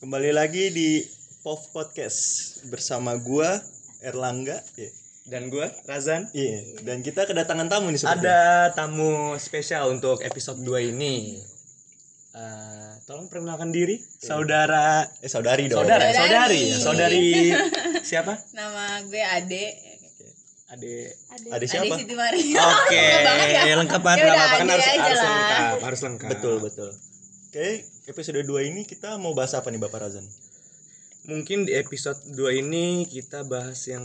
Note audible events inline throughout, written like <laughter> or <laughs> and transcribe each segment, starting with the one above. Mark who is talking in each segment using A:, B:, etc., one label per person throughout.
A: Kembali lagi di POV Podcast bersama gua Erlangga Iya.
B: dan gue Razan
A: Iya, dan kita kedatangan tamu nih sepertinya. Iya.
B: ada tamu spesial untuk episode 2 ini Eh, tolong perkenalkan diri
A: Iya.
B: saudara
A: eh saudari dong.
B: saudara
A: Eh,
B: saudari
C: Saudari. <laughs>
B: saudari siapa
C: Nama gue Ade.
B: ade Oh.
A: Ada
C: Ade
A: siapa?
C: Siti Maria.
B: oke
C: Lengkap banget ya.
B: lengkap banget
C: Ya
B: nggak
C: udah,
B: apa-apa. kan
C: Ade
B: harus
C: aja
B: harus
C: lah.
B: lengkap harus lengkap
A: Betul, betul. Oke, episode 2 ini kita mau bahas apa nih Bapak Razan?
B: mungkin di episode 2 ini kita bahas yang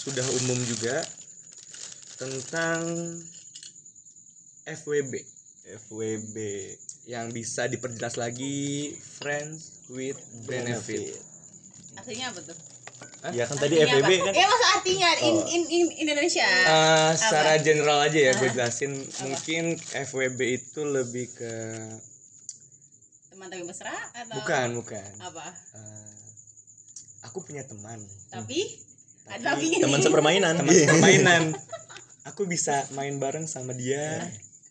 B: sudah umum juga tentang FWB
A: FWB
B: yang bisa diperjelas lagi friends with benefit.
C: Artinya apa tuh?
A: Ya kan
B: Iya,
A: tadi
C: Artinya
A: FWB
C: apa?
A: kan
C: Ya masa artinya in,
A: Oh.
C: in, in Indonesia.
B: Eh, secara general aja ya gue jelasin mungkin FWB itu lebih ke
C: Teman tapi mesra atau
B: bukan bukan.
C: apa?
B: Eh, aku punya teman
C: Tapi ada tapinya
A: teman
C: nih.
A: sepermainan.
B: teman
A: Iya.
B: mainan. Aku bisa main bareng sama dia.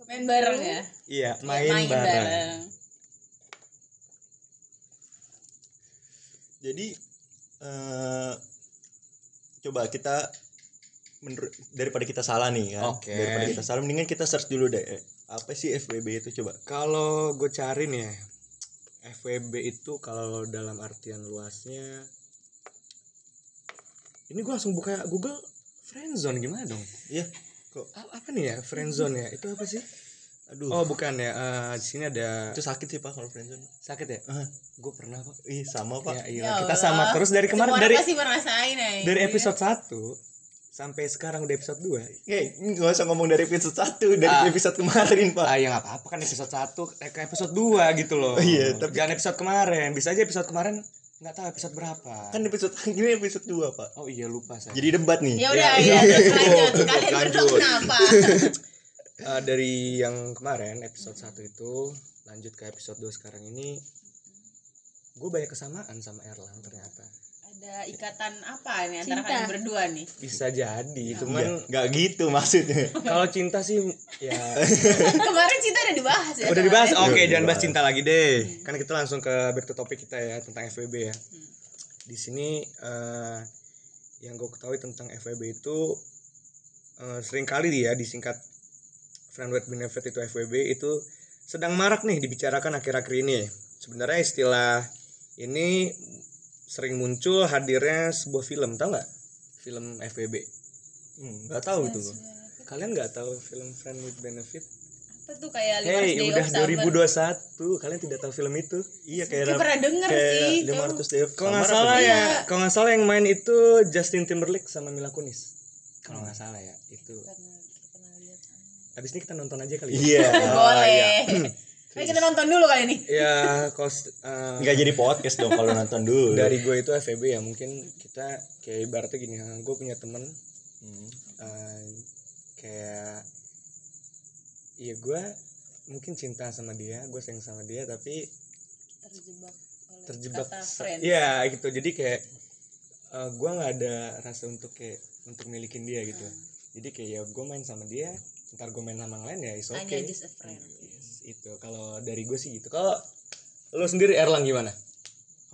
C: Main bareng ya.
B: Iya main, bareng.
A: Jadi eh coba kita menurut daripada kita salah nih kan.
B: Oke.
A: Daripada kita salah mendingan kita search dulu deh. Eh, Apa sih FWB itu coba?
B: Kalau gue cari nih ya, FWB itu kalau dalam artian luasnya ini gue langsung buka Google friendzone gimana dong?
A: Ya, kok
B: A- apa nih ya friendzone ya? Itu apa sih?
A: aduh.
B: Oh bukan ya. eh, di sini ada
A: Itu sakit sih Pak kalau friendzone.
B: sakit ya.
A: Ah,
B: Gue pernah kok.
A: ih sama Pak.
B: Ya, iya, kita sama terus dari kemarin
C: Semua orang
B: dari
C: pasti ngerasain ya.
B: dari episode 1 sampai sekarang udah episode 2
A: Eh, nggak usah ngomong dari episode 1 dari
B: Ah.
A: episode kemarin, Pak.
B: Ah ya nggak apa-apa kan episode 1 eh, ke episode 2 gitu loh.
A: iya, tapi-
B: jangan episode kemarin. Bisa aja episode kemarin nggak tahu episode berapa.
A: Kan episode <laughs> ini episode 2, Pak.
B: Oh iya lupa saya.
A: Jadi debat nih.
C: Ya udah
B: <laughs>
C: ya, terus lanjut. Kalian berdua
A: Lanjut.
C: kenapa?
B: Eh, dari yang kemarin episode 1 itu lanjut ke episode 2 sekarang ini gue banyak kesamaan sama Erlang ternyata.
C: ada ikatan apa nih antara kalian berdua nih?
B: Bisa jadi
A: Iya,
B: cuman
A: nggak gitu maksudnya.
B: kalau cinta sih ya
C: Kemarin cinta udah dibahas ya.
B: udah dibahas.
A: Udah
B: Oke,
A: dibahas.
B: jangan bahas cinta lagi deh. Kan kita langsung ke back to topic kita ya tentang FWB ya. Di sini eh, yang gue ketahui tentang FWB itu eh, seringkali dia disingkat friend with benefit itu FWB itu sedang marak nih dibicarakan akhir-akhir ini. Sebenarnya istilah ini sering muncul hadirnya sebuah film, tau nggak? Film FWB.
A: Hmm, Nggak tahu tuh.
B: Kalian nggak tahu film friend with benefit?
C: Apa tuh kayak lima
B: Hey,
C: day
B: udah
C: of summer?
B: 2021. Kalian tidak tahu film itu?
A: Iya
C: Gue
A: kayak
C: pernah denger sih.
A: kayak
C: cuma-
A: 500 dev.
B: Kalau nggak
A: Kamar apa
B: salah
A: nih?
C: Iya.
B: ya, kalau nggak salah yang main itu Justin Timberlake sama Mila Kunis. Kalau nggak salah ya, itu. Abis ini kita nonton aja kali ya.
A: Iya.
C: <laughs> Oh, Boleh. Ayo kita nonton dulu kali ini.
B: <laughs> Ya, kalau s- eh,
A: Nggak jadi podcast dong kalau nonton dulu.
B: dari gue itu FEB ya mungkin kita kayak ibaratnya gini, ah, gue punya temen
A: Hmm.
B: eh, kayak, iya gue mungkin cinta sama dia, gue sayang sama dia, tapi
C: Terjebak oleh
B: terjebak
C: kata
B: sa-
C: friend.
B: Iya gitu jadi kayak eh, gua nggak ada rasa untuk kayak untuk milikin dia gitu
C: Hmm.
B: jadi kayak ya gue main sama dia ntar gue main sama yang lain ya is
C: Hanya
B: okay
C: just a <laughs> friend.
B: Yes, itu kalau dari gue sih gitu kalau lo sendiri Erlang gimana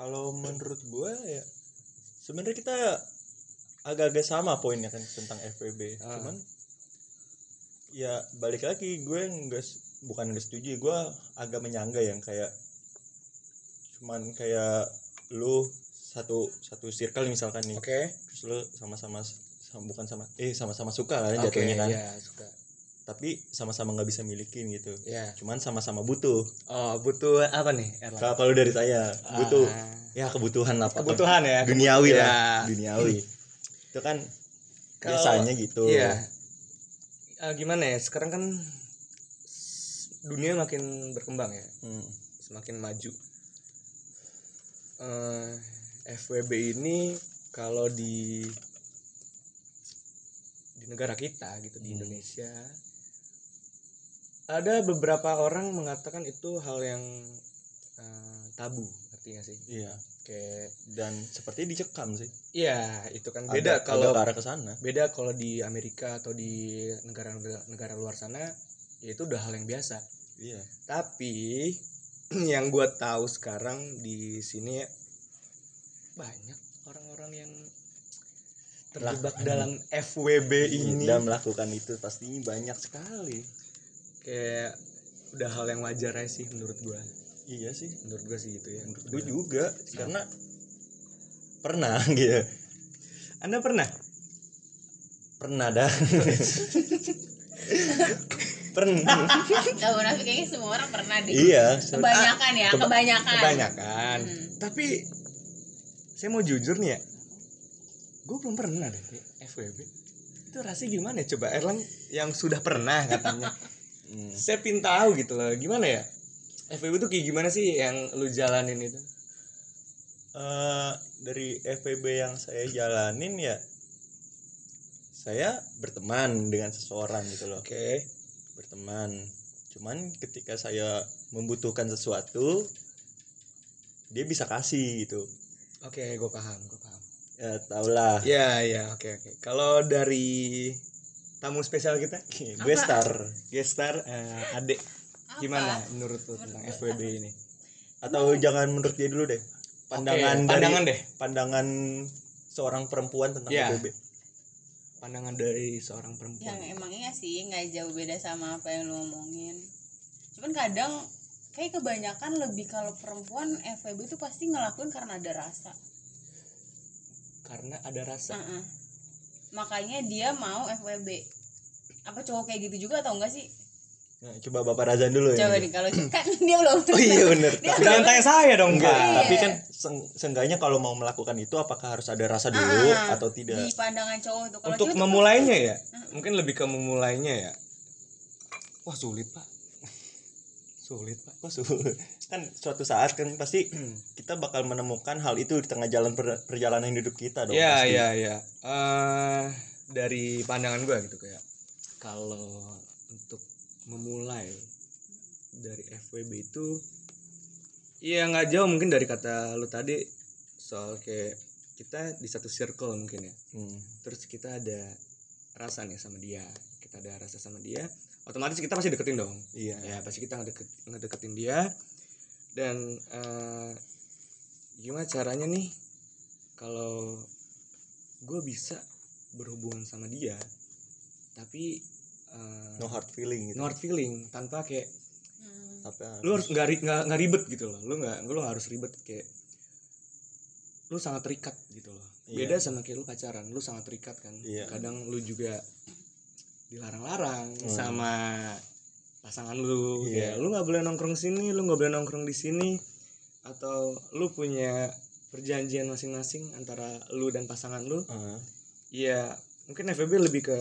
A: Kalau menurut gue ya sebenarnya kita agak-agak sama poinnya kan tentang FWB.
B: Ah.
A: Cuman ya balik lagi gue nggak s- bukan nggak setuju gue agak menyangga yang kayak cuman kayak lu satu satu circle misalkan nih
B: oke
A: terus lu sama-sama s- sama- bukan sama eh sama-sama suka kan
B: oke
A: jatuhnya kan
B: ya suka
A: tapi sama-sama nggak bisa milikin gitu
B: ya
A: cuman sama-sama butuh
B: oh butuh apa nih Erlang
A: Kalau- kalau dari saya butuh
B: Iya. Ah,
A: ya kebutuhan lah Pak.
B: kebutuhan ya
A: duniawi
B: Iya.
A: lah duniawi itu kan
B: Kalau-
A: biasanya gitu
B: Iya. Eh, gimana ya sekarang kan s- dunia makin berkembang ya
A: Hmm.
B: semakin maju. eh FWB ini kalau di di negara kita gitu di
A: Hmm.
B: Indonesia ada beberapa orang mengatakan itu hal yang eh, tabu, ngerti nggak sih?
A: iya
B: Kayak
A: dan seperti dicekam sih
B: iya itu kan
A: Agak-
B: beda
A: agak
B: kalau
A: ke arah ke sana
B: beda kalau di Amerika atau di negara-negara negara luar sana ya itu udah hal yang biasa.
A: iya
B: Tapi <clears throat> yang gua tahu sekarang di sini ya, banyak orang-orang yang terjebak dalam FWB ini
A: Tidak Iya, melakukan itu pasti banyak sekali.
B: kayak udah hal yang wajar aja sih menurut gua
A: Iya sih.
B: menurut gua sih gitu ya menurut
A: Gue juga karena pernah <laughs> gitu.
B: anda pernah
A: Pernah <laughs> dah. pernah.
C: Gak munafik kayaknya semua orang pernah deh.
A: iya.
C: Kebanyakan ya,
A: Keba-
C: kebanyakan.
B: kebanyakan
C: Hmm.
B: tapi saya mau jujur nih ya gue belum pernah deh kayak FWB itu rasanya gimana ya coba Erlang yang sudah pernah katanya <laughs>
A: Hmm.
B: saya pin tahu gitu loh gimana ya FWB tuh kayak gimana sih yang lu jalanin itu
A: Eh, dari FPB yang saya jalanin ya saya berteman dengan seseorang gitu loh.
B: oke
A: berteman cuman ketika saya membutuhkan sesuatu dia bisa kasih gitu
B: oke gue paham gue paham
A: ya tau lah
B: ya ya oke oke kalau dari tamu spesial kita <laughs>
A: gue star
B: gestar eh, Ade
C: Apa?
B: gimana menurut lu tentang FWB ini
A: atau jangan menurut dia dulu deh pandangan dari
B: Oke, pandangan deh
A: pandangan seorang perempuan tentang
B: Iya.
A: FBB
B: pandangan dari seorang perempuan
C: yang Ya, emangnya sih nggak jauh beda sama apa yang lu ngomongin cuman kadang kayak kebanyakan lebih kalau perempuan FWB itu pasti ngelakuin karena ada rasa
B: karena ada rasa
C: Heeh. makanya dia mau FWB apa cowok kayak gitu juga atau enggak sih
A: Nah, coba bapak Razan dulu
C: coba
A: ya
C: nih kalau <laughs> kan dia belum
A: oh iya bener tapi
C: Dia Iya. belum-
A: kan
B: Jangan tanya saya dong,
A: enggak
B: Kak.
A: tapi kan seng- seenggaknya kalau mau melakukan itu apakah harus ada rasa dulu
C: Ah,
A: atau tidak
C: di
A: <laughs>
C: pandangan cowok tuh kalau
B: Untuk
C: cewek tuh
B: memulainya ya, mungkin lebih ke memulainya ya. Wah sulit pak, <laughs> sulit pak.
A: Kok su- kan suatu saat kan pasti <clears throat> kita bakal menemukan hal itu di tengah jalan per- perjalanan hidup kita dong
B: Ya
A: pasti.
B: ya ya. Eh, dari pandangan gua gitu kayak, kalau untuk memulai dari FWB itu, ya nggak jauh mungkin dari kata lu tadi soal kayak kita di satu circle mungkin ya.
A: Hmm.
B: terus kita ada rasa nih sama dia kita ada rasa sama dia otomatis kita pasti deketin dong
A: Iya.
B: ya pasti kita ngedeket, ngedeketin dia dan eh, gimana caranya nih kalau gue bisa berhubungan sama dia tapi eh,
A: No hard feeling gitu.
B: no hard feeling tanpa kayak
C: Hmm.
A: Tapi ah,
B: lu harus nggak ri- nggak nggak ribet gitu loh lu nggak lu nggak harus ribet kayak lu sangat terikat gitu loh
A: Iya.
B: beda sama kayak lu pacaran lu sangat terikat kan
A: Iya. Hmm.
B: kadang lu juga dilarang-larang sama pasangan lu
A: Iya.
B: ya lu nggak boleh nongkrong sini lu nggak boleh nongkrong di sini atau lu punya perjanjian masing-masing antara lu dan pasangan lu
A: Ah,
B: ya mungkin FVB lebih ke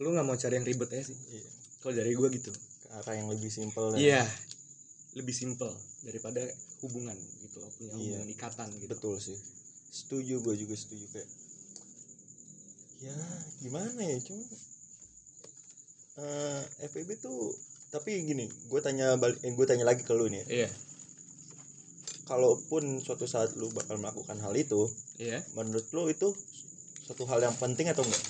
B: lu nggak mau cari yang ribet ya sih
A: iya.
B: kalau dari gua gitu
A: ke arah yang lebih simpel dan-
B: Iya, lebih simpel daripada hubungan gitu loh, punya
A: Iya.
B: hubungan ikatan gitu.
A: betul sih. Setuju gue juga setuju kayak. Ya, gimana ya cuma eh FPB tuh tapi gini, gue tanya balik gue tanya lagi ke lu nih. ya.
B: Iya,
A: Kalaupun suatu saat lu bakal melakukan hal itu,
B: iya.
A: menurut lu itu suatu hal yang penting atau enggak?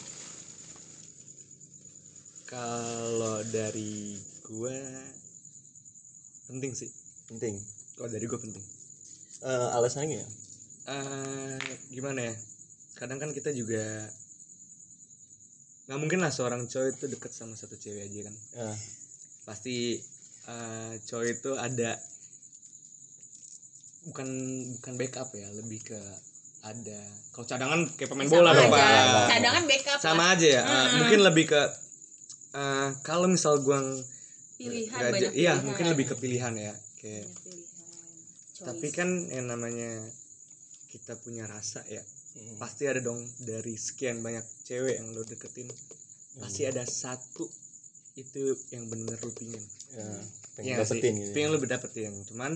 B: Kalau dari gua penting sih.
A: Penting.
B: Kalau dari gua penting.
A: Eh, alasannya ya?
B: Eh, gimana ya? Kadang kan kita juga nggak mungkin lah seorang cowok itu deket sama satu cewek aja kan.
A: Eh,
B: Pasti eh, cowok itu ada bukan bukan backup ya, lebih ke ada kalau cadangan kayak pemain bola
C: sama
B: dong,
C: aja.
B: Pak.
C: cadangan backup lah.
B: sama aja ya eh,
C: Mm-mm.
B: mungkin lebih ke eh, kalau misal gua ng-
C: pilihan
B: nggak
C: banyak
B: ja- iya
C: pilihan. Iya,
B: mungkin lebih ke pilihan ya kayak
C: Banyak pilihan. Choice.
B: tapi kan yang namanya kita punya rasa ya pasti ada dong dari sekian banyak cewek yang lo deketin pasti ada satu itu yang bener-bener lo pingin
A: ya, pengen
B: Iya nggak sih?
A: dapetin gitu.
B: pengen lo dapetin cuman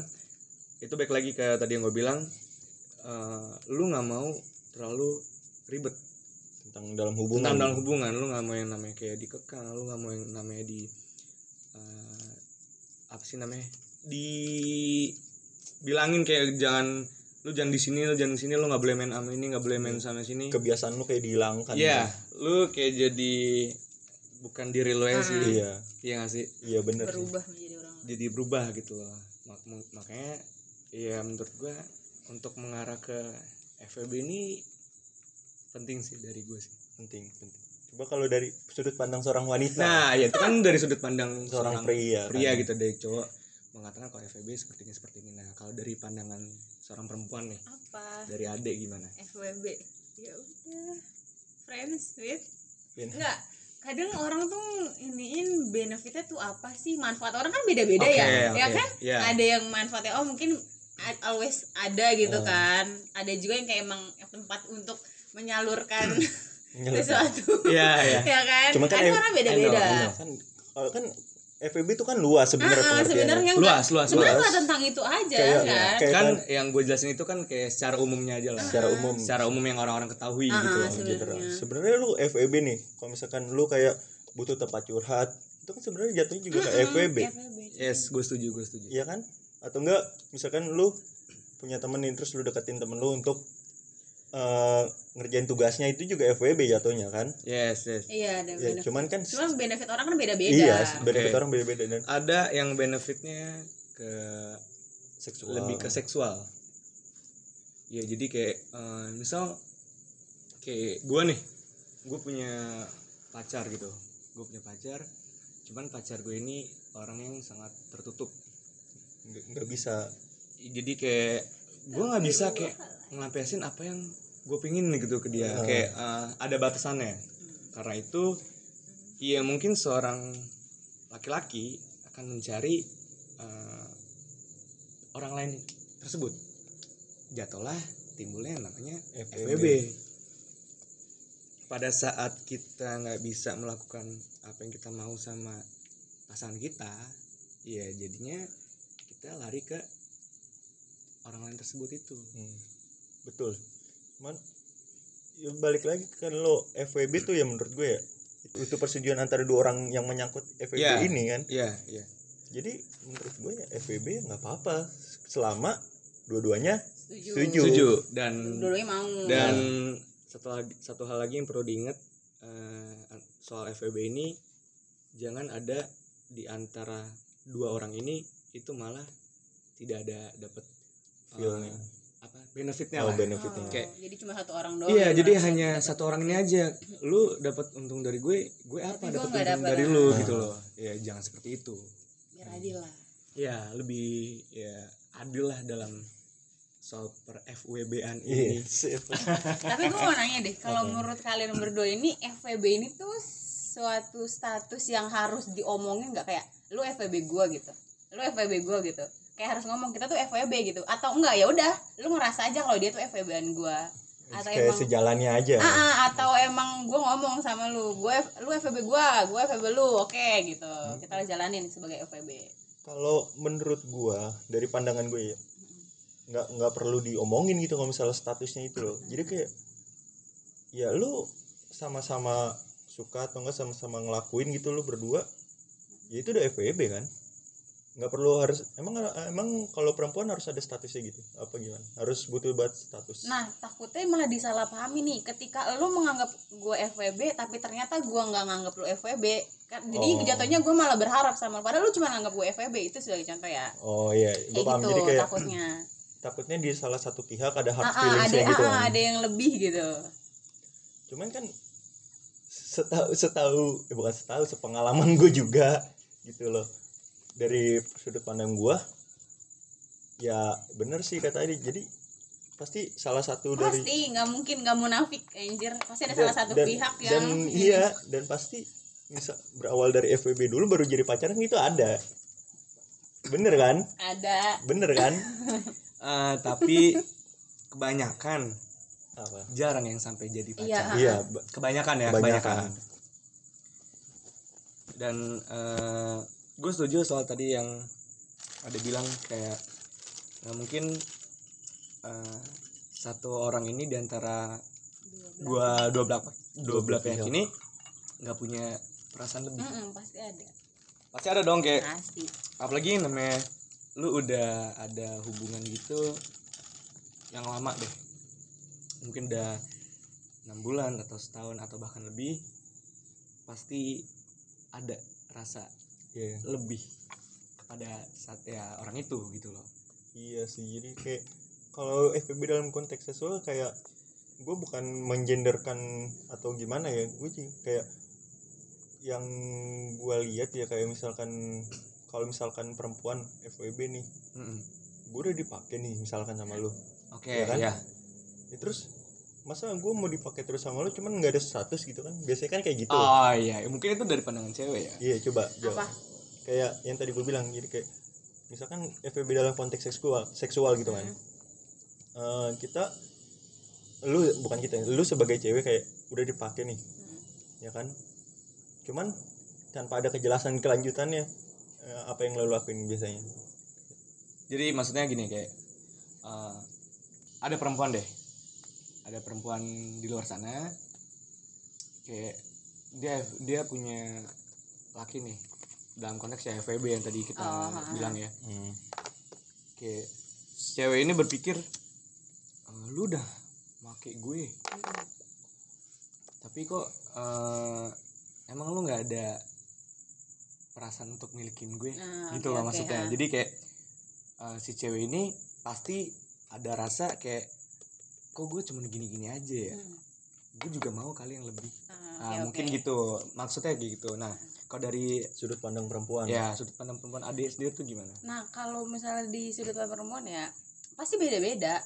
B: itu baik lagi ke tadi yang gue bilang eh, lu nggak mau terlalu ribet
A: tentang dalam hubungan.
B: tentang dalam hubungan lu nggak mau yang namanya kayak dikekang lu nggak mau yang namanya di eh, apa sih namanya di bilangin kayak jangan lu jangan di sini lu jangan di sini lu nggak boleh main sama ini nggak boleh main sama sini
A: kebiasaan lu kayak dihilangkan.
B: Iya, lu kayak jadi bukan diri lu yang
A: gitu.
B: sih
A: Iya.
B: iya nggak sih
A: Iya bener sih.
C: berubah menjadi orang lain.
B: jadi berubah gitu loh Mak- mu- makanya ya menurut gue untuk mengarah ke FEB ini penting sih dari gue sih
A: penting penting coba kalau dari sudut pandang seorang wanita
B: nah ya itu kan dari sudut pandang
A: seorang pria kan.
B: pria gitu dari cowok mengatakan kalau FEB seperti ini seperti ini nah kalau dari pandangan seorang perempuan nih
C: apa
B: dari adek gimana
C: FWB ya udah friends with
A: Win.
C: enggak kadang orang tuh iniin benefitnya tuh apa sih manfaat orang kan beda-beda ya
B: Oke,
C: ya
B: oke.
C: kan
B: Iya.
C: ada yang manfaatnya oh mungkin a- always ada gitu
B: Oh.
C: kan ada juga yang kayak emang tempat untuk
B: <laughs>
C: menyalurkan
A: Menyelesaikan.
C: sesuatu
B: Iya, iya.
C: ya kan
A: Cuma kan
C: ada
A: em-
C: orang beda-beda
B: I know, I know.
A: kan kalau kan FEB itu kan luas sebenarnya
C: Ah, ah,
A: pengertiannya.
C: sebenarnya enggak
B: luas luas
C: sebenarnya
B: luas
C: nggak tentang itu aja
A: Kayak-
C: kan
A: kayak
B: kan yang gue jelasin itu kan kayak secara umumnya aja lah
A: secara umum
B: secara umum yang orang-orang ketahui
C: Ah,
B: gitu
C: ah,
B: loh.
A: Yang
C: sebenarnya.
A: general. sebenarnya lu FEB nih kalau misalkan lu kayak butuh tempat curhat itu kan sebenarnya jatuhnya juga ke E FEB
C: FWB.
B: yes gue setuju gue setuju
A: iya kan atau enggak misalkan lu punya temen nih terus lu deketin temen lu untuk eh, ngerjain tugasnya itu juga FEB jatuhnya kan
B: yes yes
C: iya ada
A: ya
C: benefit
A: cuman kan
C: cuma benefit orang kan beda-beda
A: iya benefit
B: Oke.
A: orang beda-beda dan
B: ada yang benefitnya ke
A: seksual
B: lebih ke seksual ya jadi kayak eh, misal kayak gue nih gue punya pacar gitu gue punya pacar cuman pacar gue ini orang yang sangat tertutup
A: Nggak- nggak bisa
B: jadi kayak gue nggak bisa kayak ngelampiasin apa yang gue pingin gitu ke dia
A: Hmm.
B: kayak eh, ada batasannya karena itu ya mungkin seorang laki-laki akan mencari eh, orang lain tersebut jatuhlah timbulnya yang namanya
A: FEB.
B: FBB pada saat kita nggak bisa melakukan apa yang kita mau sama pasangan kita ya jadinya kita lari ke orang lain tersebut itu
A: Hmm, betul cuman ya balik lagi kan lo FWB tuh ya menurut gue ya itu, itu persetujuan antara dua orang yang menyangkut FWB
B: Iya.
A: ini kan
B: iya iya
A: jadi menurut gue ya FWB ya nggak apa-apa selama dua-duanya
C: setuju,
A: Setuju.
B: setuju dan
C: dulunya mau
B: dan satu lagi- satu hal lagi yang perlu diingat eh, soal FEB ini jangan ada di antara dua orang ini itu malah tidak ada dapat
A: Feel-nya.
B: apa benefitnya
A: oh,
B: lah.
A: benefitnya
C: Oh,
B: Kayak-
C: jadi cuma satu orang doang ya,
B: Iya,
C: yang
B: jadi
C: merasa
B: hanya
C: dapat.
B: satu orang ini aja. Lu dapat untung dari gue, gue apa dapat
C: Tapi gua nggak
B: untung
C: dapet,
B: dari
C: ah.
B: lu
A: Nah.
B: gitu loh. Ya jangan seperti itu.
C: biar adil lah
B: Ya lebih ya adil lah dalam soal per FWB-an
A: iya
B: ini.
C: tapi gue mau nanya deh kalau menurut kalian berdua ini FVB ini tuh suatu status yang harus diomongin nggak kayak lu FVB gua gitu lu FVB gua gitu kayak harus ngomong kita tuh FVB gitu atau enggak ya udah lu ngerasa aja kalau dia tuh FVB-an gua atau
A: kayak
C: emang
A: sejalannya aja
C: ah, ah, atau emang gua ngomong sama lu gue lu FVB gua gua FVB lu oke gitu
A: Hmm.
C: kita jalanin sebagai FVB
A: kalau menurut gua dari pandangan gue ya nggak nggak perlu diomongin gitu kalau misalnya statusnya itu loh jadi kayak ya lu sama-sama suka atau enggak sama-sama ngelakuin gitu lu berdua ya itu udah FWB kan nggak perlu harus emang emang kalau perempuan harus ada statusnya gitu apa gimana harus butuh banget status
C: Nah, takutnya malah disalahpahami nih ketika lu menganggap gue FWB tapi ternyata gua nggak nganggap lu FWB. Kan jadi
A: Oh.
C: jatuhnya gue malah berharap sama lu padahal lu cuma nganggap gue FWB itu sebagai contoh ya.
A: oh iya gue
C: Kayak
A: paham
C: gitu
A: jadi kayak
C: takutnya.
A: takutnya di salah satu pihak ada <clears throat> hard
C: Ah, ah, ada
A: feelings yang gitu
C: ah, ah,
A: kan
C: ada yang lebih gitu.
A: cuman kan setahu setahu eh bukan setahu sepengalaman gue juga gitu loh dari sudut pandang gue ya bener sih kata Adi jadi pasti salah satu dari
C: Pasti nggak mungkin nggak munafik anjir. Pasti ada salah satu pihak ya. yang
A: dan
C: <laughs>
A: iya dan pasti misal berawal dari FWB dulu baru jadi pacaran itu ada bener kan
C: ada
A: bener
C: <laughs>
A: kan
B: Eh, tapi kebanyakan
A: apa
B: jarang yang sampai jadi pacar.
C: Iya.
A: iya ba-
B: Kebanyakan ya,
A: kebanyakan
B: kebanyakan. dan gue setuju soal tadi yang ada bilang kayak nggak mungkin eh, satu orang ini diantara dua dua belah dua belah pihak ini nggak punya perasaan lebih
C: ah. Mm-mm, pasti ada.
B: pasti ada dong kayak
C: Pasti.
B: apalagi yang namanya lu udah ada hubungan gitu yang lama deh mungkin udah enam bulan atau setahun atau bahkan lebih pasti ada rasa
A: Iya.
B: lebih ke pada saat ya orang itu gitu loh
A: Iya sih, jadi kayak kalau FPB dalam konteks seksual kayak gue bukan menjenderkan atau gimana ya, gue sih kayak yang gue lihat ya kayak misalkan kalau misalkan perempuan FWB nih,
B: Mm-mm.
A: gue udah dipakai nih misalkan sama lu,
B: oke
A: Iya kan?
B: ya
A: ya, terus masa gue mau dipakai terus sama lu cuman nggak ada status gitu kan, biasanya kan kayak gitu.
B: oh iya mungkin itu dari pandangan cewek ya
A: Iya coba
C: apa
A: jawab. Kayak yang tadi gue bilang, jadi kayak misalkan FWB dalam konteks seksual, seksual gitu kan. eh, kita lu bukan kita lu sebagai cewek kayak udah dipakai nih ya kan cuman tanpa ada kejelasan kelanjutannya eh, apa yang lo lakuin biasanya
B: jadi maksudnya gini kayak eh, ada perempuan deh ada perempuan di luar sana kayak dia dia punya laki nih dalam konteks ya FVB yang tadi kita
C: Oh, ha, ha.
B: bilang ya kayak si cewek ini berpikir "Eh, lu udah make gue
C: Hmm,
B: tapi kok eh, emang lu nggak ada perasaan untuk milikin gue
C: Ah,
B: gitu
C: oke,
B: loh
C: oke,
B: maksudnya
C: ah.
B: jadi kayak eh, si cewek ini pasti ada rasa kayak kok gue cuman gini-gini aja ya
C: Hmm.
B: gue juga mau kali yang lebih
C: Ah,
B: Nah,
C: oke,
B: mungkin
C: oke.
B: gitu maksudnya gitu nah kalau dari
A: sudut pandang perempuan
B: ya sudut pandang perempuan adik sendiri tuh gimana
C: nah kalau misalnya di sudut pandang perempuan ya pasti beda-beda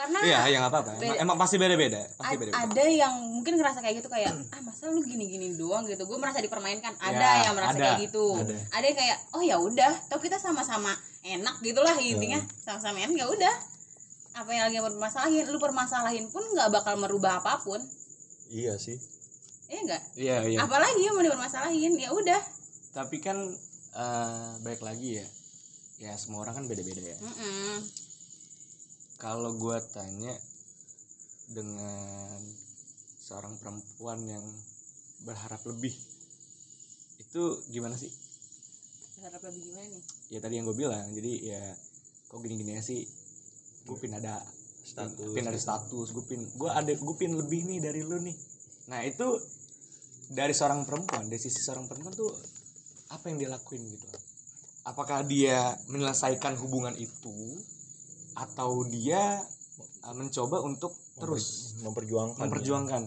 C: karena
B: Iya, ya nggak apa-apa. Emang,
C: Ah, Beda.
B: emang pasti beda-beda, pasti
C: A-
B: beda-beda.
C: ada yang mungkin ngerasa kayak gitu kayak ah masa lu gini-gini doang gitu gue merasa dipermainkan ada
B: Ya,
C: yang merasa
B: ada,
C: kayak gitu
B: ada.
C: ada. yang kayak oh ya udah tau kita sama-sama enak gitulah intinya
B: Iya.
C: sama-sama enak ya udah apa yang lagi mau permasalahin lu permasalahin pun nggak bakal merubah apapun
A: iya sih
C: ya enggak
B: Iya, iya.
C: apalagi yang mau dipermasalahin ya udah
B: Tapi kan eh baik lagi ya. Ya semua orang kan beda-beda ya.
C: Mm-mm.
B: Kalau gua tanya dengan seorang perempuan yang berharap lebih itu gimana sih?
C: harap lebih gimana nih
B: Ya tadi yang gue bilang. Jadi ya kok gini-gini aja sih. Gue pin ada
A: status
B: pin ada status gue pin gue ada gue pin lebih nih dari lu nih nah itu dari seorang perempuan dari sisi seorang perempuan tuh apa yang dia lakuin gitu apakah dia menyelesaikan hubungan itu atau dia uh, mencoba untuk terus
A: memperjuangkan ya.
B: memperjuangkan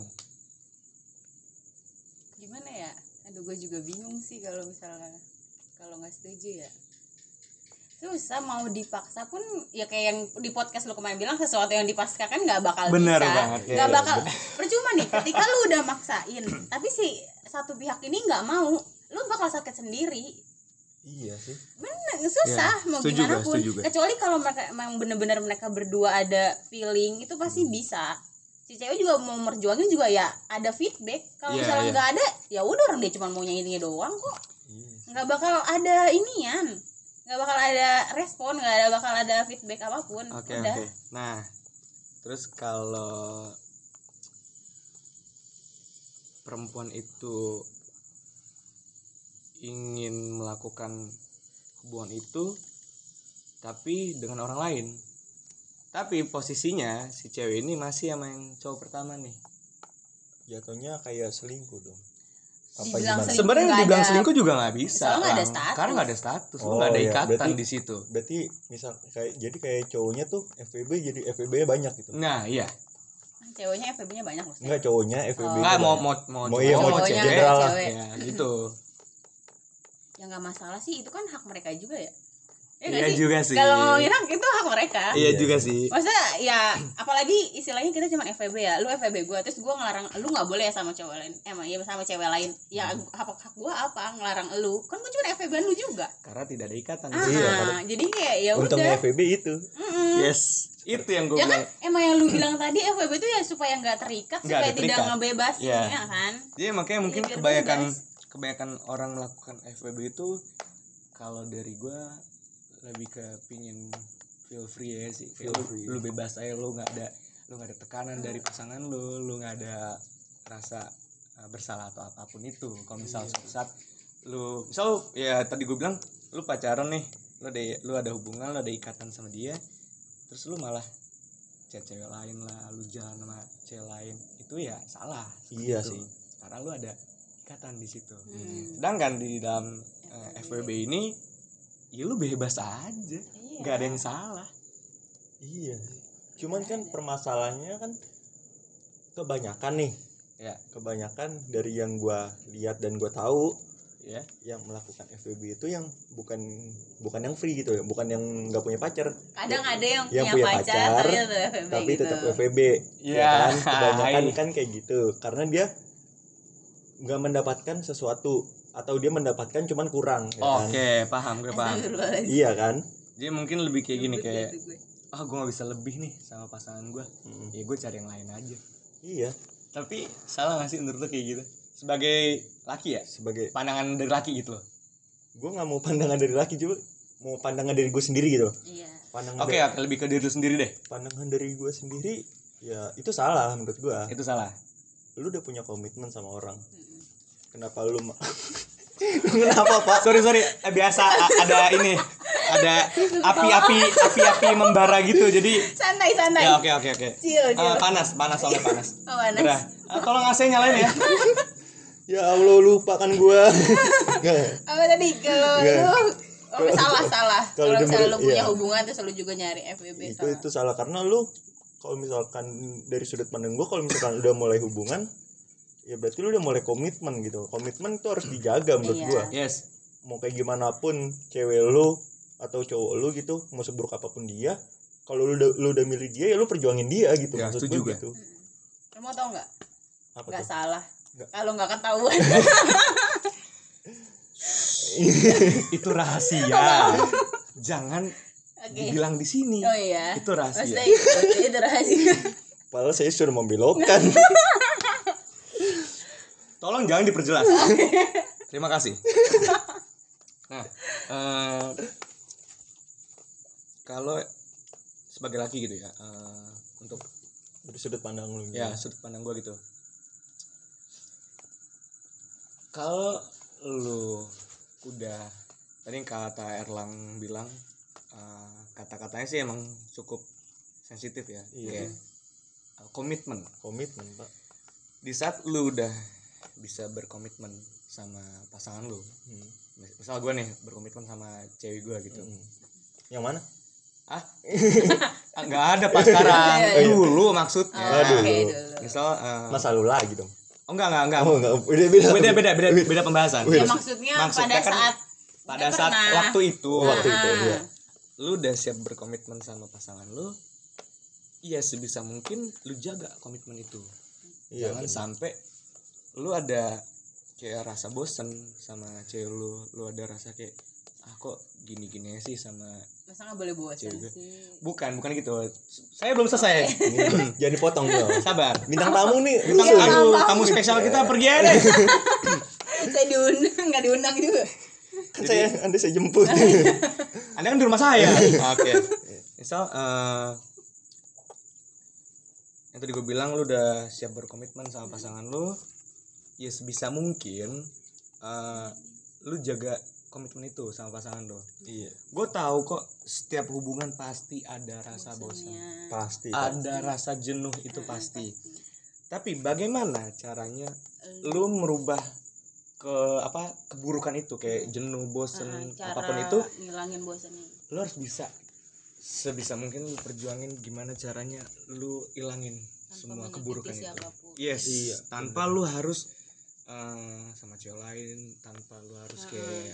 C: gimana ya aduh gue juga bingung sih kalau misalnya kalau nggak setuju ya susah mau dipaksa pun ya kayak yang di podcast lu kemarin bilang sesuatu yang dipaksakan kan nggak bakal
B: Bener
C: bisa
B: banget, iya,
C: nggak
B: iya,
C: bakal percuma nih ketika lu udah maksain tapi si satu pihak ini nggak mau lu bakal sakit sendiri
A: iya sih
C: bener susah
B: Ya,
C: mau
B: setuju
C: gimana
B: gue,
C: pun
B: setuju gue.
C: kecuali kalau mereka memang bener-bener mereka berdua ada feeling itu pasti
B: Hmm.
C: bisa si cewek juga mau merjuangin juga ya ada feedback kalau
B: Iya,
C: misalnya
B: iya.
C: nggak ada ya udah orang dia cuma mau nyanyinya doang kok
A: iya.
C: nggak bakal ada inian nggak bakal ada respon nggak ada bakal ada feedback apapun
B: oke oke
C: udah
B: nah terus kalau perempuan itu ingin melakukan hubungan itu tapi dengan orang lain tapi posisinya si cewek ini masih sama yang cowok pertama nih
A: jatuhnya kayak selingkuh dong apa
C: Dibilang
A: gimana
C: selingkuh.
B: sebenarnya
C: nggak
B: dibilang
C: ada-
B: selingkuh juga nggak bisa
C: Soalnya nggak ada
B: Lang.
C: status.
B: karena nggak ada status lu
A: Oh,
B: nggak ada
A: iya.
B: ikatan
A: Berarti-
B: di situ
A: berarti misal kayak jadi kayak cowoknya tuh FWB jadi FWB banyak gitu
B: nah iya
C: Ah, ceweknya FB nya banyak loh Stan.
A: enggak cowoknya FWB
B: Oh. nggak mau mau mau
A: Mau iya,
B: cowok,
A: mau
B: cewek.
A: general lah.
B: ya gitu
C: ya nggak masalah sih itu kan hak mereka juga ya Ya nggak
B: Iya juga sih.
C: kalau ngomongin hak itu hak mereka
B: Iya juga sih.
C: Maksudnya ya apalagi istilahnya kita cuma FVB ya. Lu FVB gua terus gua ngelarang lu nggak boleh ya sama cowok lain. Emang ya sama cewek lain. Ya hak hak gua apa ngelarang lu? Kan gua cuma FVB lu juga.
B: Karena tidak ada ikatan.
C: Ah,
A: Iya, kalau-
C: jadi kayak ya
A: untungnya
C: udah.
A: FWB itu
C: Mm-mm.
B: Yes, Iya. itu yang gue
C: Ya kan
B: bilang.
C: emang yang lu bilang tadi FVB itu ya supaya nggak terikat,
B: Nggak
C: supaya
B: ada
C: tidak
B: terikat.
C: ngebebasin
B: Iya.
C: ya kan.
B: Jadi makanya mungkin
C: Iya, biar
B: kebanyakan
C: bebas.
B: kebanyakan orang melakukan FWB itu kalau dari gue lebih ke pingin feel free ya sih. Feel lu- Lu, bebas aja lu nggak ada lu nggak ada tekanan dari pasangan lu, lu nggak ada rasa uh, bersalah atau apapun itu. Kalau misal suatu saat lu misal lu- ya tadi gue bilang lu pacaran nih, lu ada lu ada hubungan, lu ada ikatan sama dia, terus lu malah chat cewek lain lah, lu jalan sama cewek lain, itu ya salah.
A: Iya sih.
B: Gitu. Karena lu ada ikatan di situ.
C: Hmm.
B: Sedangkan di dalam eh, FWB ini ya lu bebas aja
C: Iya.
B: nggak ada yang salah
A: Iya. Cuman kan permasalahannya kan kebanyakan nih.
B: Ya.
A: Kebanyakan dari yang gua lihat dan gua tahu
B: ya
A: yang melakukan FWB itu yang bukan bukan yang free gitu ya, bukan yang nggak punya pacar,
C: kadang ada yang,
A: Yang
C: punya
A: punya
C: pacar,
A: pacar,
C: tapi tetap FWB
A: tapi
C: gitu
A: tetap FWB.
B: Ya,
A: kan? Kebanyakan
B: hai.
A: kan kayak gitu karena dia nggak mendapatkan sesuatu atau dia mendapatkan cuman kurang ya
B: oke
A: kan?
B: paham gue paham
C: Astagfirullahaladzim.
A: Iya kan?
B: jadi mungkin lebih kayak Iya, gini kayak
C: Gitu gue.
B: ah gue nggak bisa lebih nih sama pasangan gue
A: Mm.
B: ya gue cari yang lain aja
A: Iya,
B: tapi salah nggak sih menurut lo kayak gitu sebagai laki ya
A: sebagai
B: pandangan dari laki gitu loh
A: gue nggak mau pandangan dari laki juga mau pandangan dari gue sendiri gitu
C: iya
A: pandangan
B: oke
A: dari,
B: oke, lebih ke diri lu sendiri deh
A: pandangan dari gue sendiri ya itu salah menurut gue
B: itu salah
A: lu udah punya komitmen sama orang kenapa lu ma- <laughs> kenapa pak
B: sorry sorry Eh, biasa a- ada ini ada api-api api-api membara gitu jadi
C: santai santai
B: ya oke oke oke
C: Chill,
B: Eh,
C: chill.
B: panas panas soalnya panas
C: Oh, panas.
B: Gerah. Eh, tolong AC nyalain ya
A: ya allah lupakan ya? gue
B: <laughs>
C: apa tadi kalau
A: Iya.
C: lu oh, salah salah
A: <laughs> Kalau dia
C: kalau misalnya
A: menurut-
C: lu punya
A: iya.
C: hubungan terus lu juga nyari FWB
A: itu
C: salah
A: itu salah karena lu kalau misalkan dari sudut pandang gue kalau misalkan udah mulai hubungan ya berarti lu udah mulai komitmen gitu komitmen itu harus dijaga menurut
C: Iya.
A: gue
B: yes
A: mau kayak gimana pun cewek lu atau cowok lu gitu mau seburuk apapun dia kalau lu udah lu udah milih dia ya lu perjuangin dia gitu
B: Ya,
A: maksud
B: setuju
A: gue
B: gue.
A: gitu
C: lu mau tau nggak
A: apa
C: nggak
A: tuh
C: salah
A: Nggak.
C: kalau nggak
A: <laughs>
C: ketahuan
B: itu
C: <laughs>
B: rahasia jangan
C: oke
B: dibilang di sini
C: oh iya
B: itu rahasia
C: Maksudnya itu, itu <laughs> rahasia
A: padahal saya sudah membelokkan
C: <laughs>
B: tolong jangan diperjelas terima
C: <laughs>
B: kasih nah eh, kalau sebagai laki gitu ya eh, untuk
A: dari sudut pandang lu gitu.
B: ya sudut pandang gue gitu kalau lu udah tadi yang kata Erlang bilang eh, kata-katanya sih emang cukup sensitif ya
A: Iya.
B: Kayak, eh, komitmen
A: komitmen pak
B: di saat lu udah bisa berkomitmen sama pasangan lu
A: Hmm.
B: mis- misal gue nih berkomitmen sama cewek gue gitu
A: Hmm. yang mana
B: ah <laughs> Ah, nggak ada pas sekarang
C: Iya, iya.
B: dulu
C: Oh,
B: maksudnya
A: Aduh.
C: oke dulu
B: misal eh,
A: masa lu lagi dong
B: oh enggak enggak enggak
A: oh enggak beda beda
B: beda beda beda beda pembahasan
A: Iya,
C: ya maksudnya
B: Maksudnya
C: pada
B: kan
C: saat
B: pada
C: Dia
B: saat
C: pernah.
B: waktu itu
A: waktu itu
C: Ah.
A: iya.
B: lu udah siap berkomitmen sama pasangan lu Iya sebisa mungkin lu jaga komitmen itu
A: iya
B: jangan
A: bener.
B: sampai lu ada kayak rasa bosen sama cewek lu lu ada rasa kayak ah kok gini gini sih sama
C: masa nggak boleh
A: Iya,
C: bosan
B: Cewek.
C: sih <laughs>
B: bukan bukan gitu saya belum selesai
A: Ini- jangan dipotong bro
B: sabar
A: bintang tamu nih
C: Iya,
B: bintang
A: lucu.
B: tamu tamu spesial kita pergi aja deh
C: saya diundang nggak diundang juga
A: kan saya anda saya <laughs> jemput Iya.
B: anda kan di rumah saya <laughs> oke misal eh, yang tadi gue bilang lu udah siap berkomitmen sama pasangan lu ya sebisa mungkin eh, lu jaga komitmen itu sama pasangan lu
A: iya
B: gue tahu kok setiap hubungan pasti ada rasa bosan
C: Bosannya.
A: pasti Pak.
B: ada rasa jenuh itu pasti tapi bagaimana caranya lu merubah ke apa keburukan itu kayak jenuh bosen
C: Ah, cara
B: Hmm, apapun itu
C: ngilangin bosannya
B: lu harus bisa sebisa mungkin lu perjuangin gimana caranya lu ilangin semua
C: menyakiti
B: keburukan itu
C: siapapun.
B: yes
A: Iya,
B: tanpa lu harus eh, sama cewek lain tanpa lu harus kayak eh,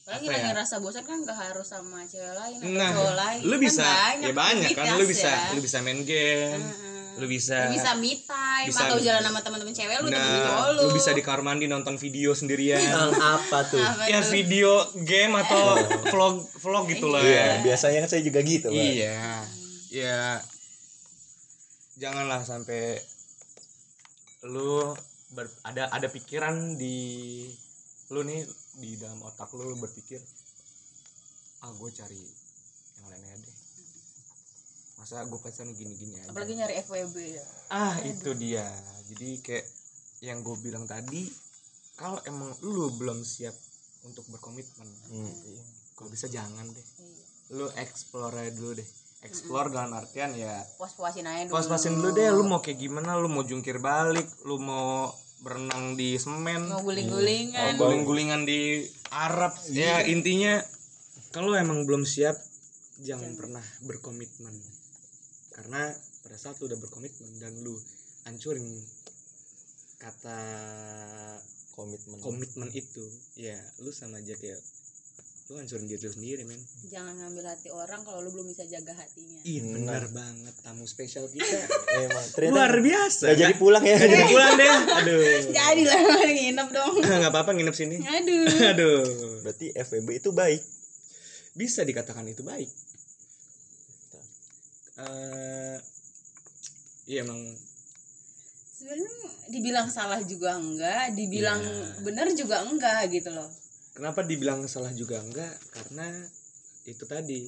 C: Padahal
B: Apa
C: ngilangin
B: ya?
C: rasa bosan kan gak harus sama cewek lain atau
B: Nah,
C: cowok lain.
B: lu
C: Kan
B: bisa, ya banyak kan, lu
C: aktivitas
B: bisa,
C: ya.
B: lu bisa main game,
C: Heeh.
B: lu bisa,
C: Lu bisa me time
B: bisa-
C: atau jalan sama teman-teman cewek lu, temen cowok
B: nah,
C: lu. Iya,
B: lu bisa di kamar mandi nonton video sendirian,
A: Tentang apa tuh
C: Apa
B: ya
C: tuh?
B: video game atau vlog vlog gitu lah
A: Iya,
B: ya,
A: biasanya kan saya juga gitu. Pak.
B: iya, ya, janganlah sampai lu ber- ada ada pikiran di lu nih di dalam otak lu, lu berpikir, ah gue cari yang lainnya deh, masa gue pacaran gini-gini aja.
C: Apalagi nyari FWB ya.
B: ah itu dia jadi kayak yang gue bilang tadi kalau emang lu belum siap untuk berkomitmen
A: Hmm.
B: kalau bisa jangan deh
C: Iya.
B: lu explore aja dulu deh explore dalam artian ya
C: Puas-puasin aja dulu.
B: pas-pasin dulu deh lu mau kayak gimana lu mau jungkir balik lu mau berenang di semen
C: mau guling-gulingan
B: guling-gulingan di Arab ya intinya kalau emang belum siap jangan pernah berkomitmen karena pada saat lu udah berkomitmen dan lu hancurin kata
A: komitmen
B: komitmen itu ya lu sama aja kayak lu hancurin diri lu sendiri men
C: jangan ngambil hati orang kalau lu belum bisa jaga hatinya
B: Ih benar banget tamu spesial kita
A: emang <laughs> eh, ternyata
B: luar biasa Iya.
A: nggak jadi pulang ya
B: Nggak jadi pulang
A: <laughs>
B: deh aduh
C: jadi lah <laughs> nginep dong
B: nggak apa-apa nginep
A: <laughs>
B: sini
C: aduh
B: aduh
A: berarti FEB itu baik
B: bisa dikatakan itu baik. eh iya emang
C: sebenarnya dibilang salah juga enggak dibilang
B: Iya.
C: bener juga enggak gitu loh
B: kenapa dibilang salah juga enggak karena itu tadi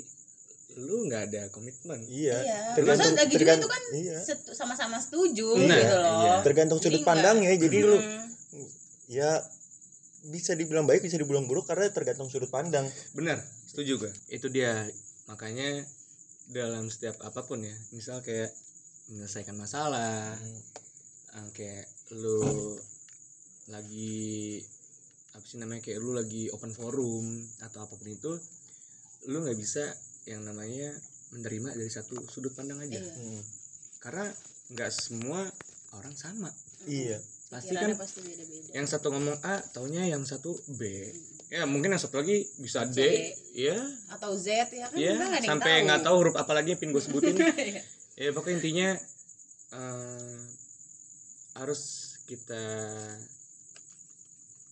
B: lu nggak ada komitmen.
A: iya
C: Iya.
A: tergantung
C: Maksudnya lagi juga
A: tergantung
C: itu kan
A: iya
C: Setu- sama-sama setuju
B: Nah,
C: gitu loh
A: tergantung
C: Jadi
A: sudut
C: enggak-
A: pandangnya jadi lu
C: Hmm.
A: ya bisa dibilang baik bisa dibilang buruk karena tergantung sudut pandang
B: Bener, setuju gue. Itu dia makanya dalam setiap apapun ya, misal kayak menyelesaikan masalah, eh, kayak lu lagi apa sih namanya kayak lu lagi open forum atau apapun itu, lu nggak bisa yang namanya menerima dari satu sudut pandang aja.
C: Iya.
A: Hmm.
B: Karena nggak semua orang sama.
A: iya
B: Pasti kan
C: Pikirannya pasti beda-beda
B: yang satu ngomong A, taunya yang satu B. Ya mungkin yang satu lagi bisa D,
C: C.
B: ya
C: atau Z ya kan
B: Iya,
C: kita nggak ada yang
B: sampai nggak tahu huruf apa lagi yang pin gue sebutin.
C: <laughs> Iya.
B: ya pokoknya intinya eh, harus kita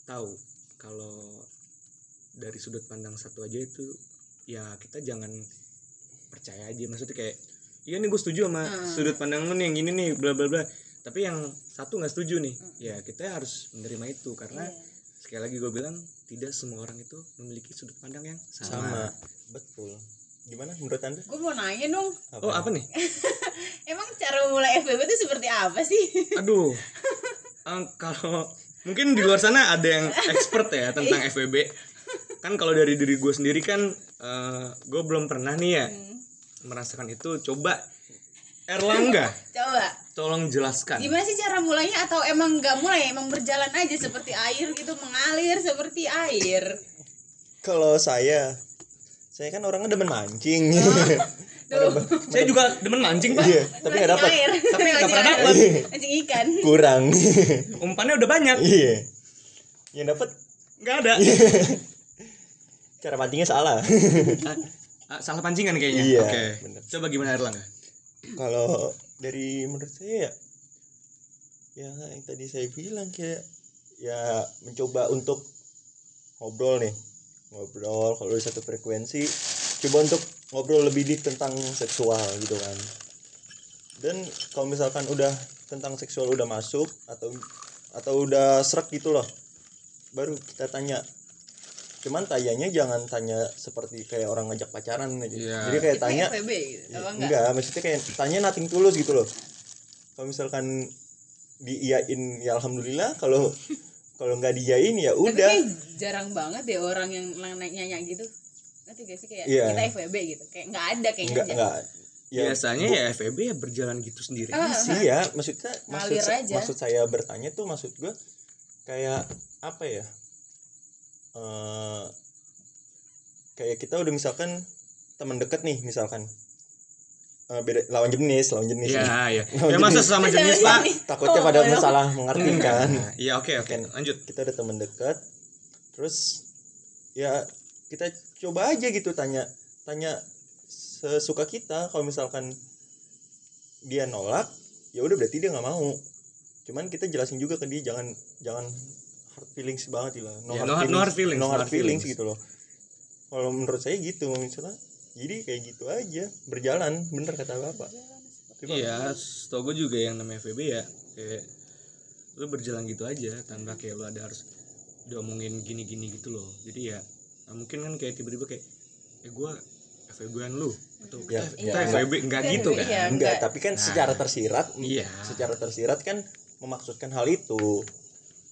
B: tahu kalau dari sudut pandang satu aja itu ya kita jangan percaya aja maksudnya kayak iya nih gue setuju sama
C: Hmm.
B: sudut pandang lu nih yang gini nih bla bla bla tapi yang satu nggak setuju nih
C: Hmm.
B: ya kita harus menerima itu karena
C: Iya.
B: sekali lagi gue bilang tidak semua orang itu memiliki sudut pandang yang
A: sama
B: sama.
A: Nah, betul gimana menurut anda
C: gue mau nanya dong
B: Oh apa nih?
C: emang cara mulai FBB itu seperti apa sih <laughs>
B: Aduh. Eh, kalau mungkin di luar sana ada yang expert ya tentang FBB. Kan kalau dari diri gue sendiri kan eh, gue belum pernah nih ya merasakan itu. Coba Erlangga,
C: coba
B: tolong jelaskan.
C: gimana sih cara mulainya atau emang nggak mulai emang berjalan aja seperti air gitu mengalir seperti air
A: kalau saya saya kan orangnya demen mancing
C: Duh,
B: Saya juga demen mancing pak.
A: <laughs> iya tapi nggak dapat
C: air
B: Tapi nggak
C: Mancing
B: pernah
C: air. <laughs> mancing ikan
A: kurang <laughs>
B: Umpannya udah banyak,
A: iya yang dapat
B: nggak ada.
A: cara pancingnya salah <laughs>
B: Ah, ah, salah pancingan kayaknya.
A: Iya,
B: Oke.
A: bener.
B: Coba gimana Erlangga?
A: kalau dari menurut saya ya ya yang tadi saya bilang kayak ya mencoba untuk ngobrol nih ngobrol kalau di satu frekuensi coba untuk ngobrol lebih deep tentang seksual gitu kan dan kalau misalkan udah tentang seksual udah masuk atau atau udah serak gitu loh baru kita tanya cuman tanyanya jangan tanya seperti kayak orang ngajak pacaran aja
B: Iya.
A: jadi kayak
C: Itu
A: tanya
C: FBB gitu, apa
A: Iya. Enggak.
C: enggak
A: maksudnya kayak tanya nating tulus gitu loh. Kalau misalkan diiyain ya alhamdulillah,
C: <laughs>
A: kalau kalau nggak diiyain ya
C: Tapi
A: udah.
C: kayak jarang banget deh orang yang nanya-nanya gitu nanti gak sih kayak
A: Iya.
C: kita FBB gitu kayak nggak ada kayaknya
A: Enggak
C: aja.
A: enggak. Ya,
B: Biasanya ya FBB ya berjalan gitu sendiri.
C: Ah,
A: sih ya, maksudnya maksud
C: Ngalir aja.
A: maksud saya bertanya tuh maksud gue kayak apa ya? Eh kayak kita udah misalkan teman deket nih misalkan Eh, beda lawan jenis lawan jenis
B: Iya,
A: nih.
B: iya.
A: Oh,
B: Ya masa sama jenis pak?
A: takutnya pada
C: Oh,
A: salah
C: <laughs>
A: mengerti kan
B: Nah, Iya oke oke. Lanjut.
A: kita udah teman dekat terus ya kita coba aja gitu tanya tanya sesuka kita kalau misalkan dia nolak ya udah berarti dia nggak mau cuman kita jelasin juga ke dia jangan jangan hard feelings banget lah
B: Ya, no hard- no hard feelings,
A: no
B: no
A: hard
B: hard
A: feelings,
B: feelings.
A: gitu loh kalau menurut saya gitu misalnya jadi kayak gitu aja berjalan bener kata bapak Coba.
B: Iya, setau gue juga yang namanya FBB ya kayak lu berjalan gitu aja tanpa kayak lu ada harus diomongin gini-gini gitu loh. Jadi ya nah mungkin kan kayak tiba-tiba kayak eh gua FBB-an lu atau
A: Ya,
B: kita,
A: iya,
B: kita FBB enggak gitu kan.
C: Iya,
A: enggak tapi kan
D: Nah.
A: secara tersirat
B: Iya.
A: secara tersirat kan memaksudkan hal itu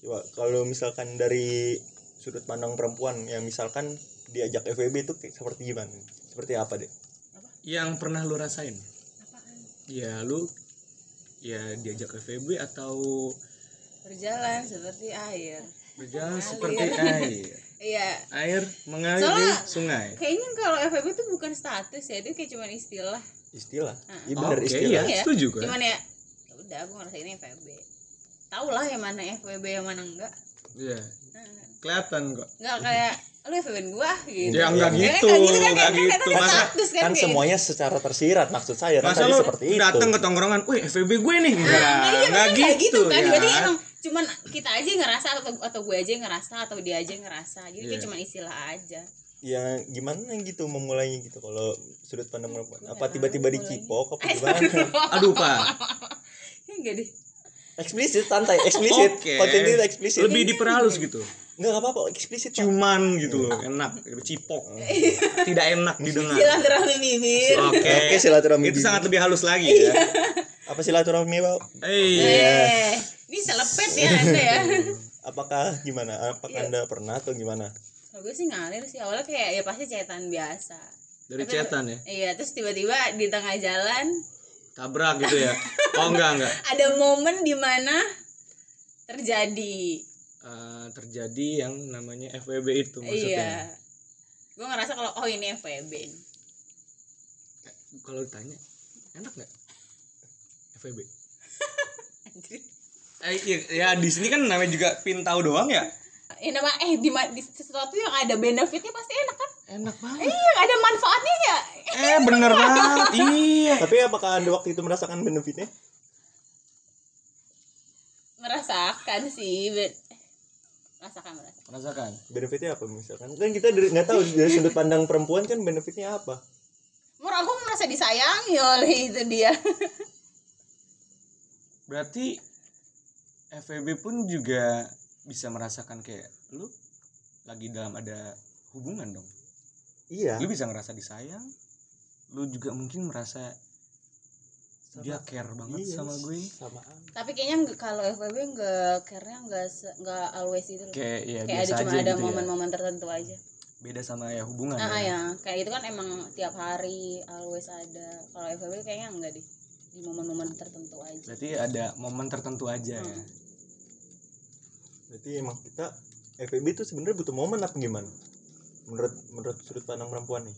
A: coba kalau misalkan dari sudut pandang perempuan yang misalkan diajak FWB itu kayak seperti gimana seperti apa deh
B: Yang pernah lu rasain? Ya lu ya diajak FBB atau
C: berjalan seperti air
D: Berjalan
C: Mengalir. <laughs>
D: seperti air.
C: iya
D: Air mengalir di
C: Soalnya-
D: sungai.
C: kayaknya kalau FWB itu bukan status ya itu kayak cuman istilah
A: istilah
C: Ah.
A: iya bener
D: Oh, Oke,
A: istilah
C: Iya.
D: setuju gue.
C: cuman ya ya udah gue ngerasa ini FWB tau lah yang mana FWB yang mana enggak
D: Iya.
C: Nah,
D: Kelihatan kok.
C: enggak kayak lu FWB gua gitu
D: Ya enggak
C: Kayak-
D: gitu,
C: kayak gitu kan
D: enggak
C: kayak kayak
D: gitu.
C: tadi
D: Masa
C: status kan
A: kan
C: kayak
A: semuanya secara tersirat maksud saya kan
D: Masa
A: tadi
D: lu
A: seperti itu
D: datang ke tongkrongan, "Wih, FVB gue nih." Enggak,
C: Nah, iya
D: enggak gitu,
C: maksudnya kayak gitu kan.
D: ya.
C: Jadi emang cuman kita aja yang ngerasa atau atau gue aja yang ngerasa atau dia aja yang ngerasa. Jadi kayak
D: Iya.
C: cuman istilah aja.
A: ya gimana gitu memulainya gitu kalau sudut pandang perempuan apa tiba-tiba dicipok apa
C: Eh,
A: gimana
C: <laughs>
D: Aduh, Pak.
C: Ya enggak deh.
A: <laughs> eksplisit santai eksplisit
D: Oke.
A: konten itu eksplisit
D: Lebih diperhalus gitu.
A: nggak apa-apa eksplisit Pak.
D: Cuman gitu loh, enak, cipok. Tidak enak didengar.
C: Silaturahmi bibir.
D: Oke.
A: Oke, silaturahmi
D: Itu
A: bibir.
D: sangat lebih halus lagi ya.
A: apa silaturahmi Pak?
D: Eh,
C: Eh, ini selepet ya Anda ya.
A: apakah gimana apakah
C: Iya.
A: anda pernah atau gimana
C: Kalau gue sih ngalir sih awalnya kayak ya pasti cetan biasa.
D: dari cetan ya.
C: Iya, terus tiba-tiba di tengah jalan
D: Tabrak gitu ya. Oh, enggak, enggak.
C: ada momen di mana terjadi
D: Eh, terjadi yang namanya FWB itu maksudnya.
C: Iya. Gue ngerasa kalau oh ini FWB. nih.
D: Kalau ditanya, enak nggak FWB?
C: Anjir.
D: Eh, iya- ya di sini kan namanya juga pin tahu doang ya.
C: Ya, nama eh di, ma- di sesuatu yang ada benefitnya pasti enak kan?
D: Enak banget.
C: Iya, ada manfaatnya ya.
D: Eh
C: <laughs>
D: bener banget. Iya.
A: tapi apakah anda waktu itu merasakan benefitnya
C: Merasakan sih, ben- eh, merasakan merasakan.
B: merasakan
A: benefitnya apa misalkan kan kita dari- nggak tahu dari sudut pandang perempuan kan benefitnya apa
C: Mur aku merasa disayangi oleh itu dia.
B: berarti FEB pun juga bisa merasakan kayak lu lagi dalam ada hubungan dong
A: iya
B: lu bisa ngerasa disayang lu juga mungkin merasa dia care banget
A: Iya,
B: sama gue
A: sama Anda.
C: Tapi kayaknya nggak- kalau FWB nggak karena nggak se- nggak always itu. loh.
B: kayak ya
C: Kayak
B: biasa
C: ada cuma
B: aja
C: ada
B: gitu ya
C: momen-momen tertentu aja.
B: beda sama ya hubungan
C: Nah,
A: Iya.
B: ya.
C: ya, kayak itu kan emang tiap hari always ada. Kalau FWB kayaknya enggak deh. Di momen-momen tertentu aja.
B: berarti ada momen tertentu aja ya
C: Hmm.
A: berarti emang kita FEB itu sebenarnya butuh momen apa gimana menurut menurut sudut pandang perempuan nih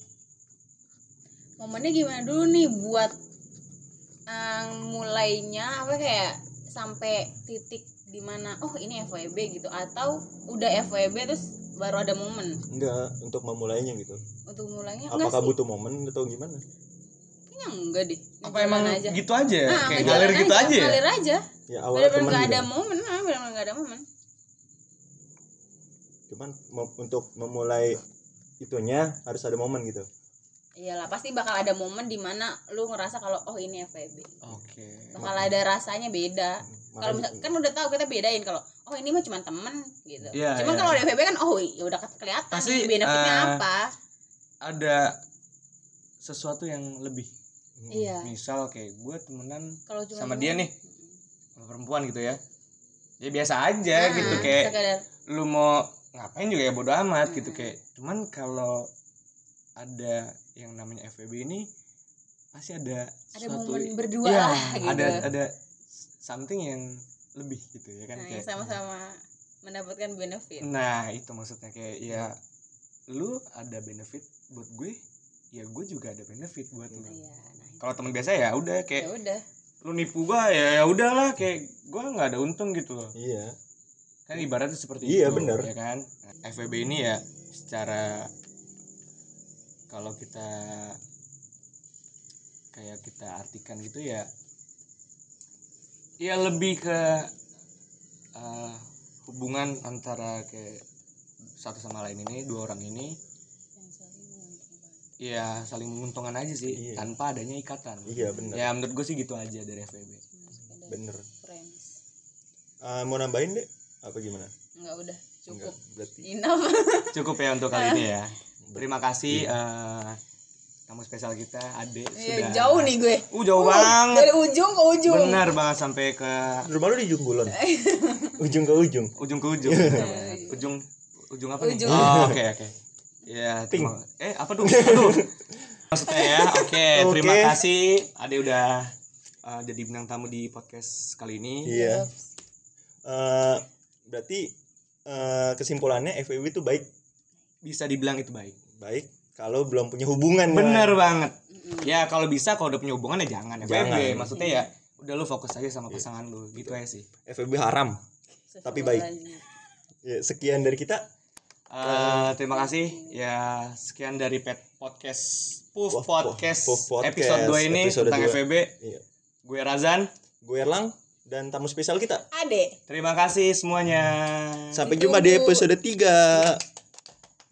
C: momennya gimana dulu nih buat eh, mulainya apa kayak sampai titik dimana oh ini FWB gitu atau udah FWB terus baru ada momen
A: enggak untuk memulainya gitu
C: untuk mulainya enggak
A: apakah
C: sih
A: butuh momen atau gimana
C: kayaknya enggak deh
B: apa emang
C: Jalan aja
B: gitu aja
C: Ah,
B: kayak
C: jalan
B: ngalir gitu aja ya
C: ngalir aja
A: ya awal
C: benar-benar
A: teman
C: nggak ada
A: gitu.
C: momen ah benar-benar nggak ada momen
A: cuman mem- untuk memulai itunya harus ada momen gitu
C: iyalah pasti bakal ada momen dimana lu ngerasa kalau oh ini FWB
B: oke
C: bakal ada rasanya beda kalau
A: Makanya-
C: misal- kan udah tahu kita bedain kalau oh ini mah cuma temen gitu
B: Iya,
C: cuman
B: iya.
C: kalau udah FWB kan oh ya udah kelihatan
B: Pasti,
C: nih benefitnya
B: eh,
C: apa
B: ada sesuatu yang lebih
A: Hmm.
C: iya
B: misal kayak gue temenan
C: kalau cuma gitu.
B: sama
C: temen,
B: dia nih sama perempuan gitu ya ya biasa aja
C: nah,
B: gitu kayak
C: sekedar
B: lu mau ngapain juga ya bodo amat
C: Hmm.
B: gitu kayak cuman kalau ada yang namanya FVB ini pasti ada
C: ada
B: suatu
C: momen berdua
B: Iya,
C: lah gitu
B: ada ada something yang lebih gitu ya kan
C: nah,
B: kayak
C: yang sama-sama mendapatkan benefit
B: nah itu maksudnya kayak ya lu ada benefit buat gue ya gue juga ada benefit buat lu
C: iya nah
B: kalau teman biasa ya udah
C: ya
B: kayak
C: udah
B: lu nipu gue ya ya udahlah kayak gue nggak ada untung gitu loh
A: iya
B: kan ibaratnya seperti
A: Iya,
B: itu
A: benar.
B: ya kan Nah, FWB ini ya secara kalau kita kayak kita artikan gitu ya ya lebih ke eh, hubungan antara kayak satu sama lain ini dua orang ini ya saling menguntungkan aja sih
A: Iya.
B: tanpa adanya ikatan
A: iya bener
B: ya menurut gue sih gitu aja dari FWB
C: sekedar
A: bener
C: friends
A: Eh, mau nambahin deh apa gimana
C: nggak udah cukup
A: Enggak, berarti
C: enough
B: cukup ya untuk
C: Iya.
B: kali ini ya terima kasih eh, tamu spesial kita Ade
C: Iya,
B: sudah
C: jauh nih gue
B: uh jauh
C: Bang
B: banget
C: dari ujung ke ujung
B: benar banget sampai ke
A: rumah lu di Junggulon ujung ke ujung
B: ujung ke ujung Benar banget. ujung ujung apa nih
C: Iya. Ujung.
B: oh oke oke ya terima eh apa tuh aduh maksudnya ya oke terima
A: Oke.
B: kasih Ade udah eh, jadi bintang tamu di podcast kali ini
A: iya eh, berarti eh, kesimpulannya FWB itu baik
B: bisa dibilang itu baik
A: baik kalau belum punya hubungan
B: bener banget ya kalau bisa kalau udah punya hubungan ya jangan FWB
A: Jangan.
B: maksudnya ya udah lu fokus aja sama pasangan lu gitu aja sih
A: kan. FWB haram Tapi baik. ya, sekian dari kita
B: Eh, terima kasih ya sekian dari pet podcast
A: Puff-
B: Puff podcast,
A: Puff Podcast,
B: episode 2 ini
A: episode
B: tentang
A: dua.
B: FWB
A: Iya.
B: gue Razan
A: gue Erlang dan tamu spesial kita
C: Ade.
B: terima kasih semuanya
A: sampai jumpa di
C: Ditunggu.
A: episode 3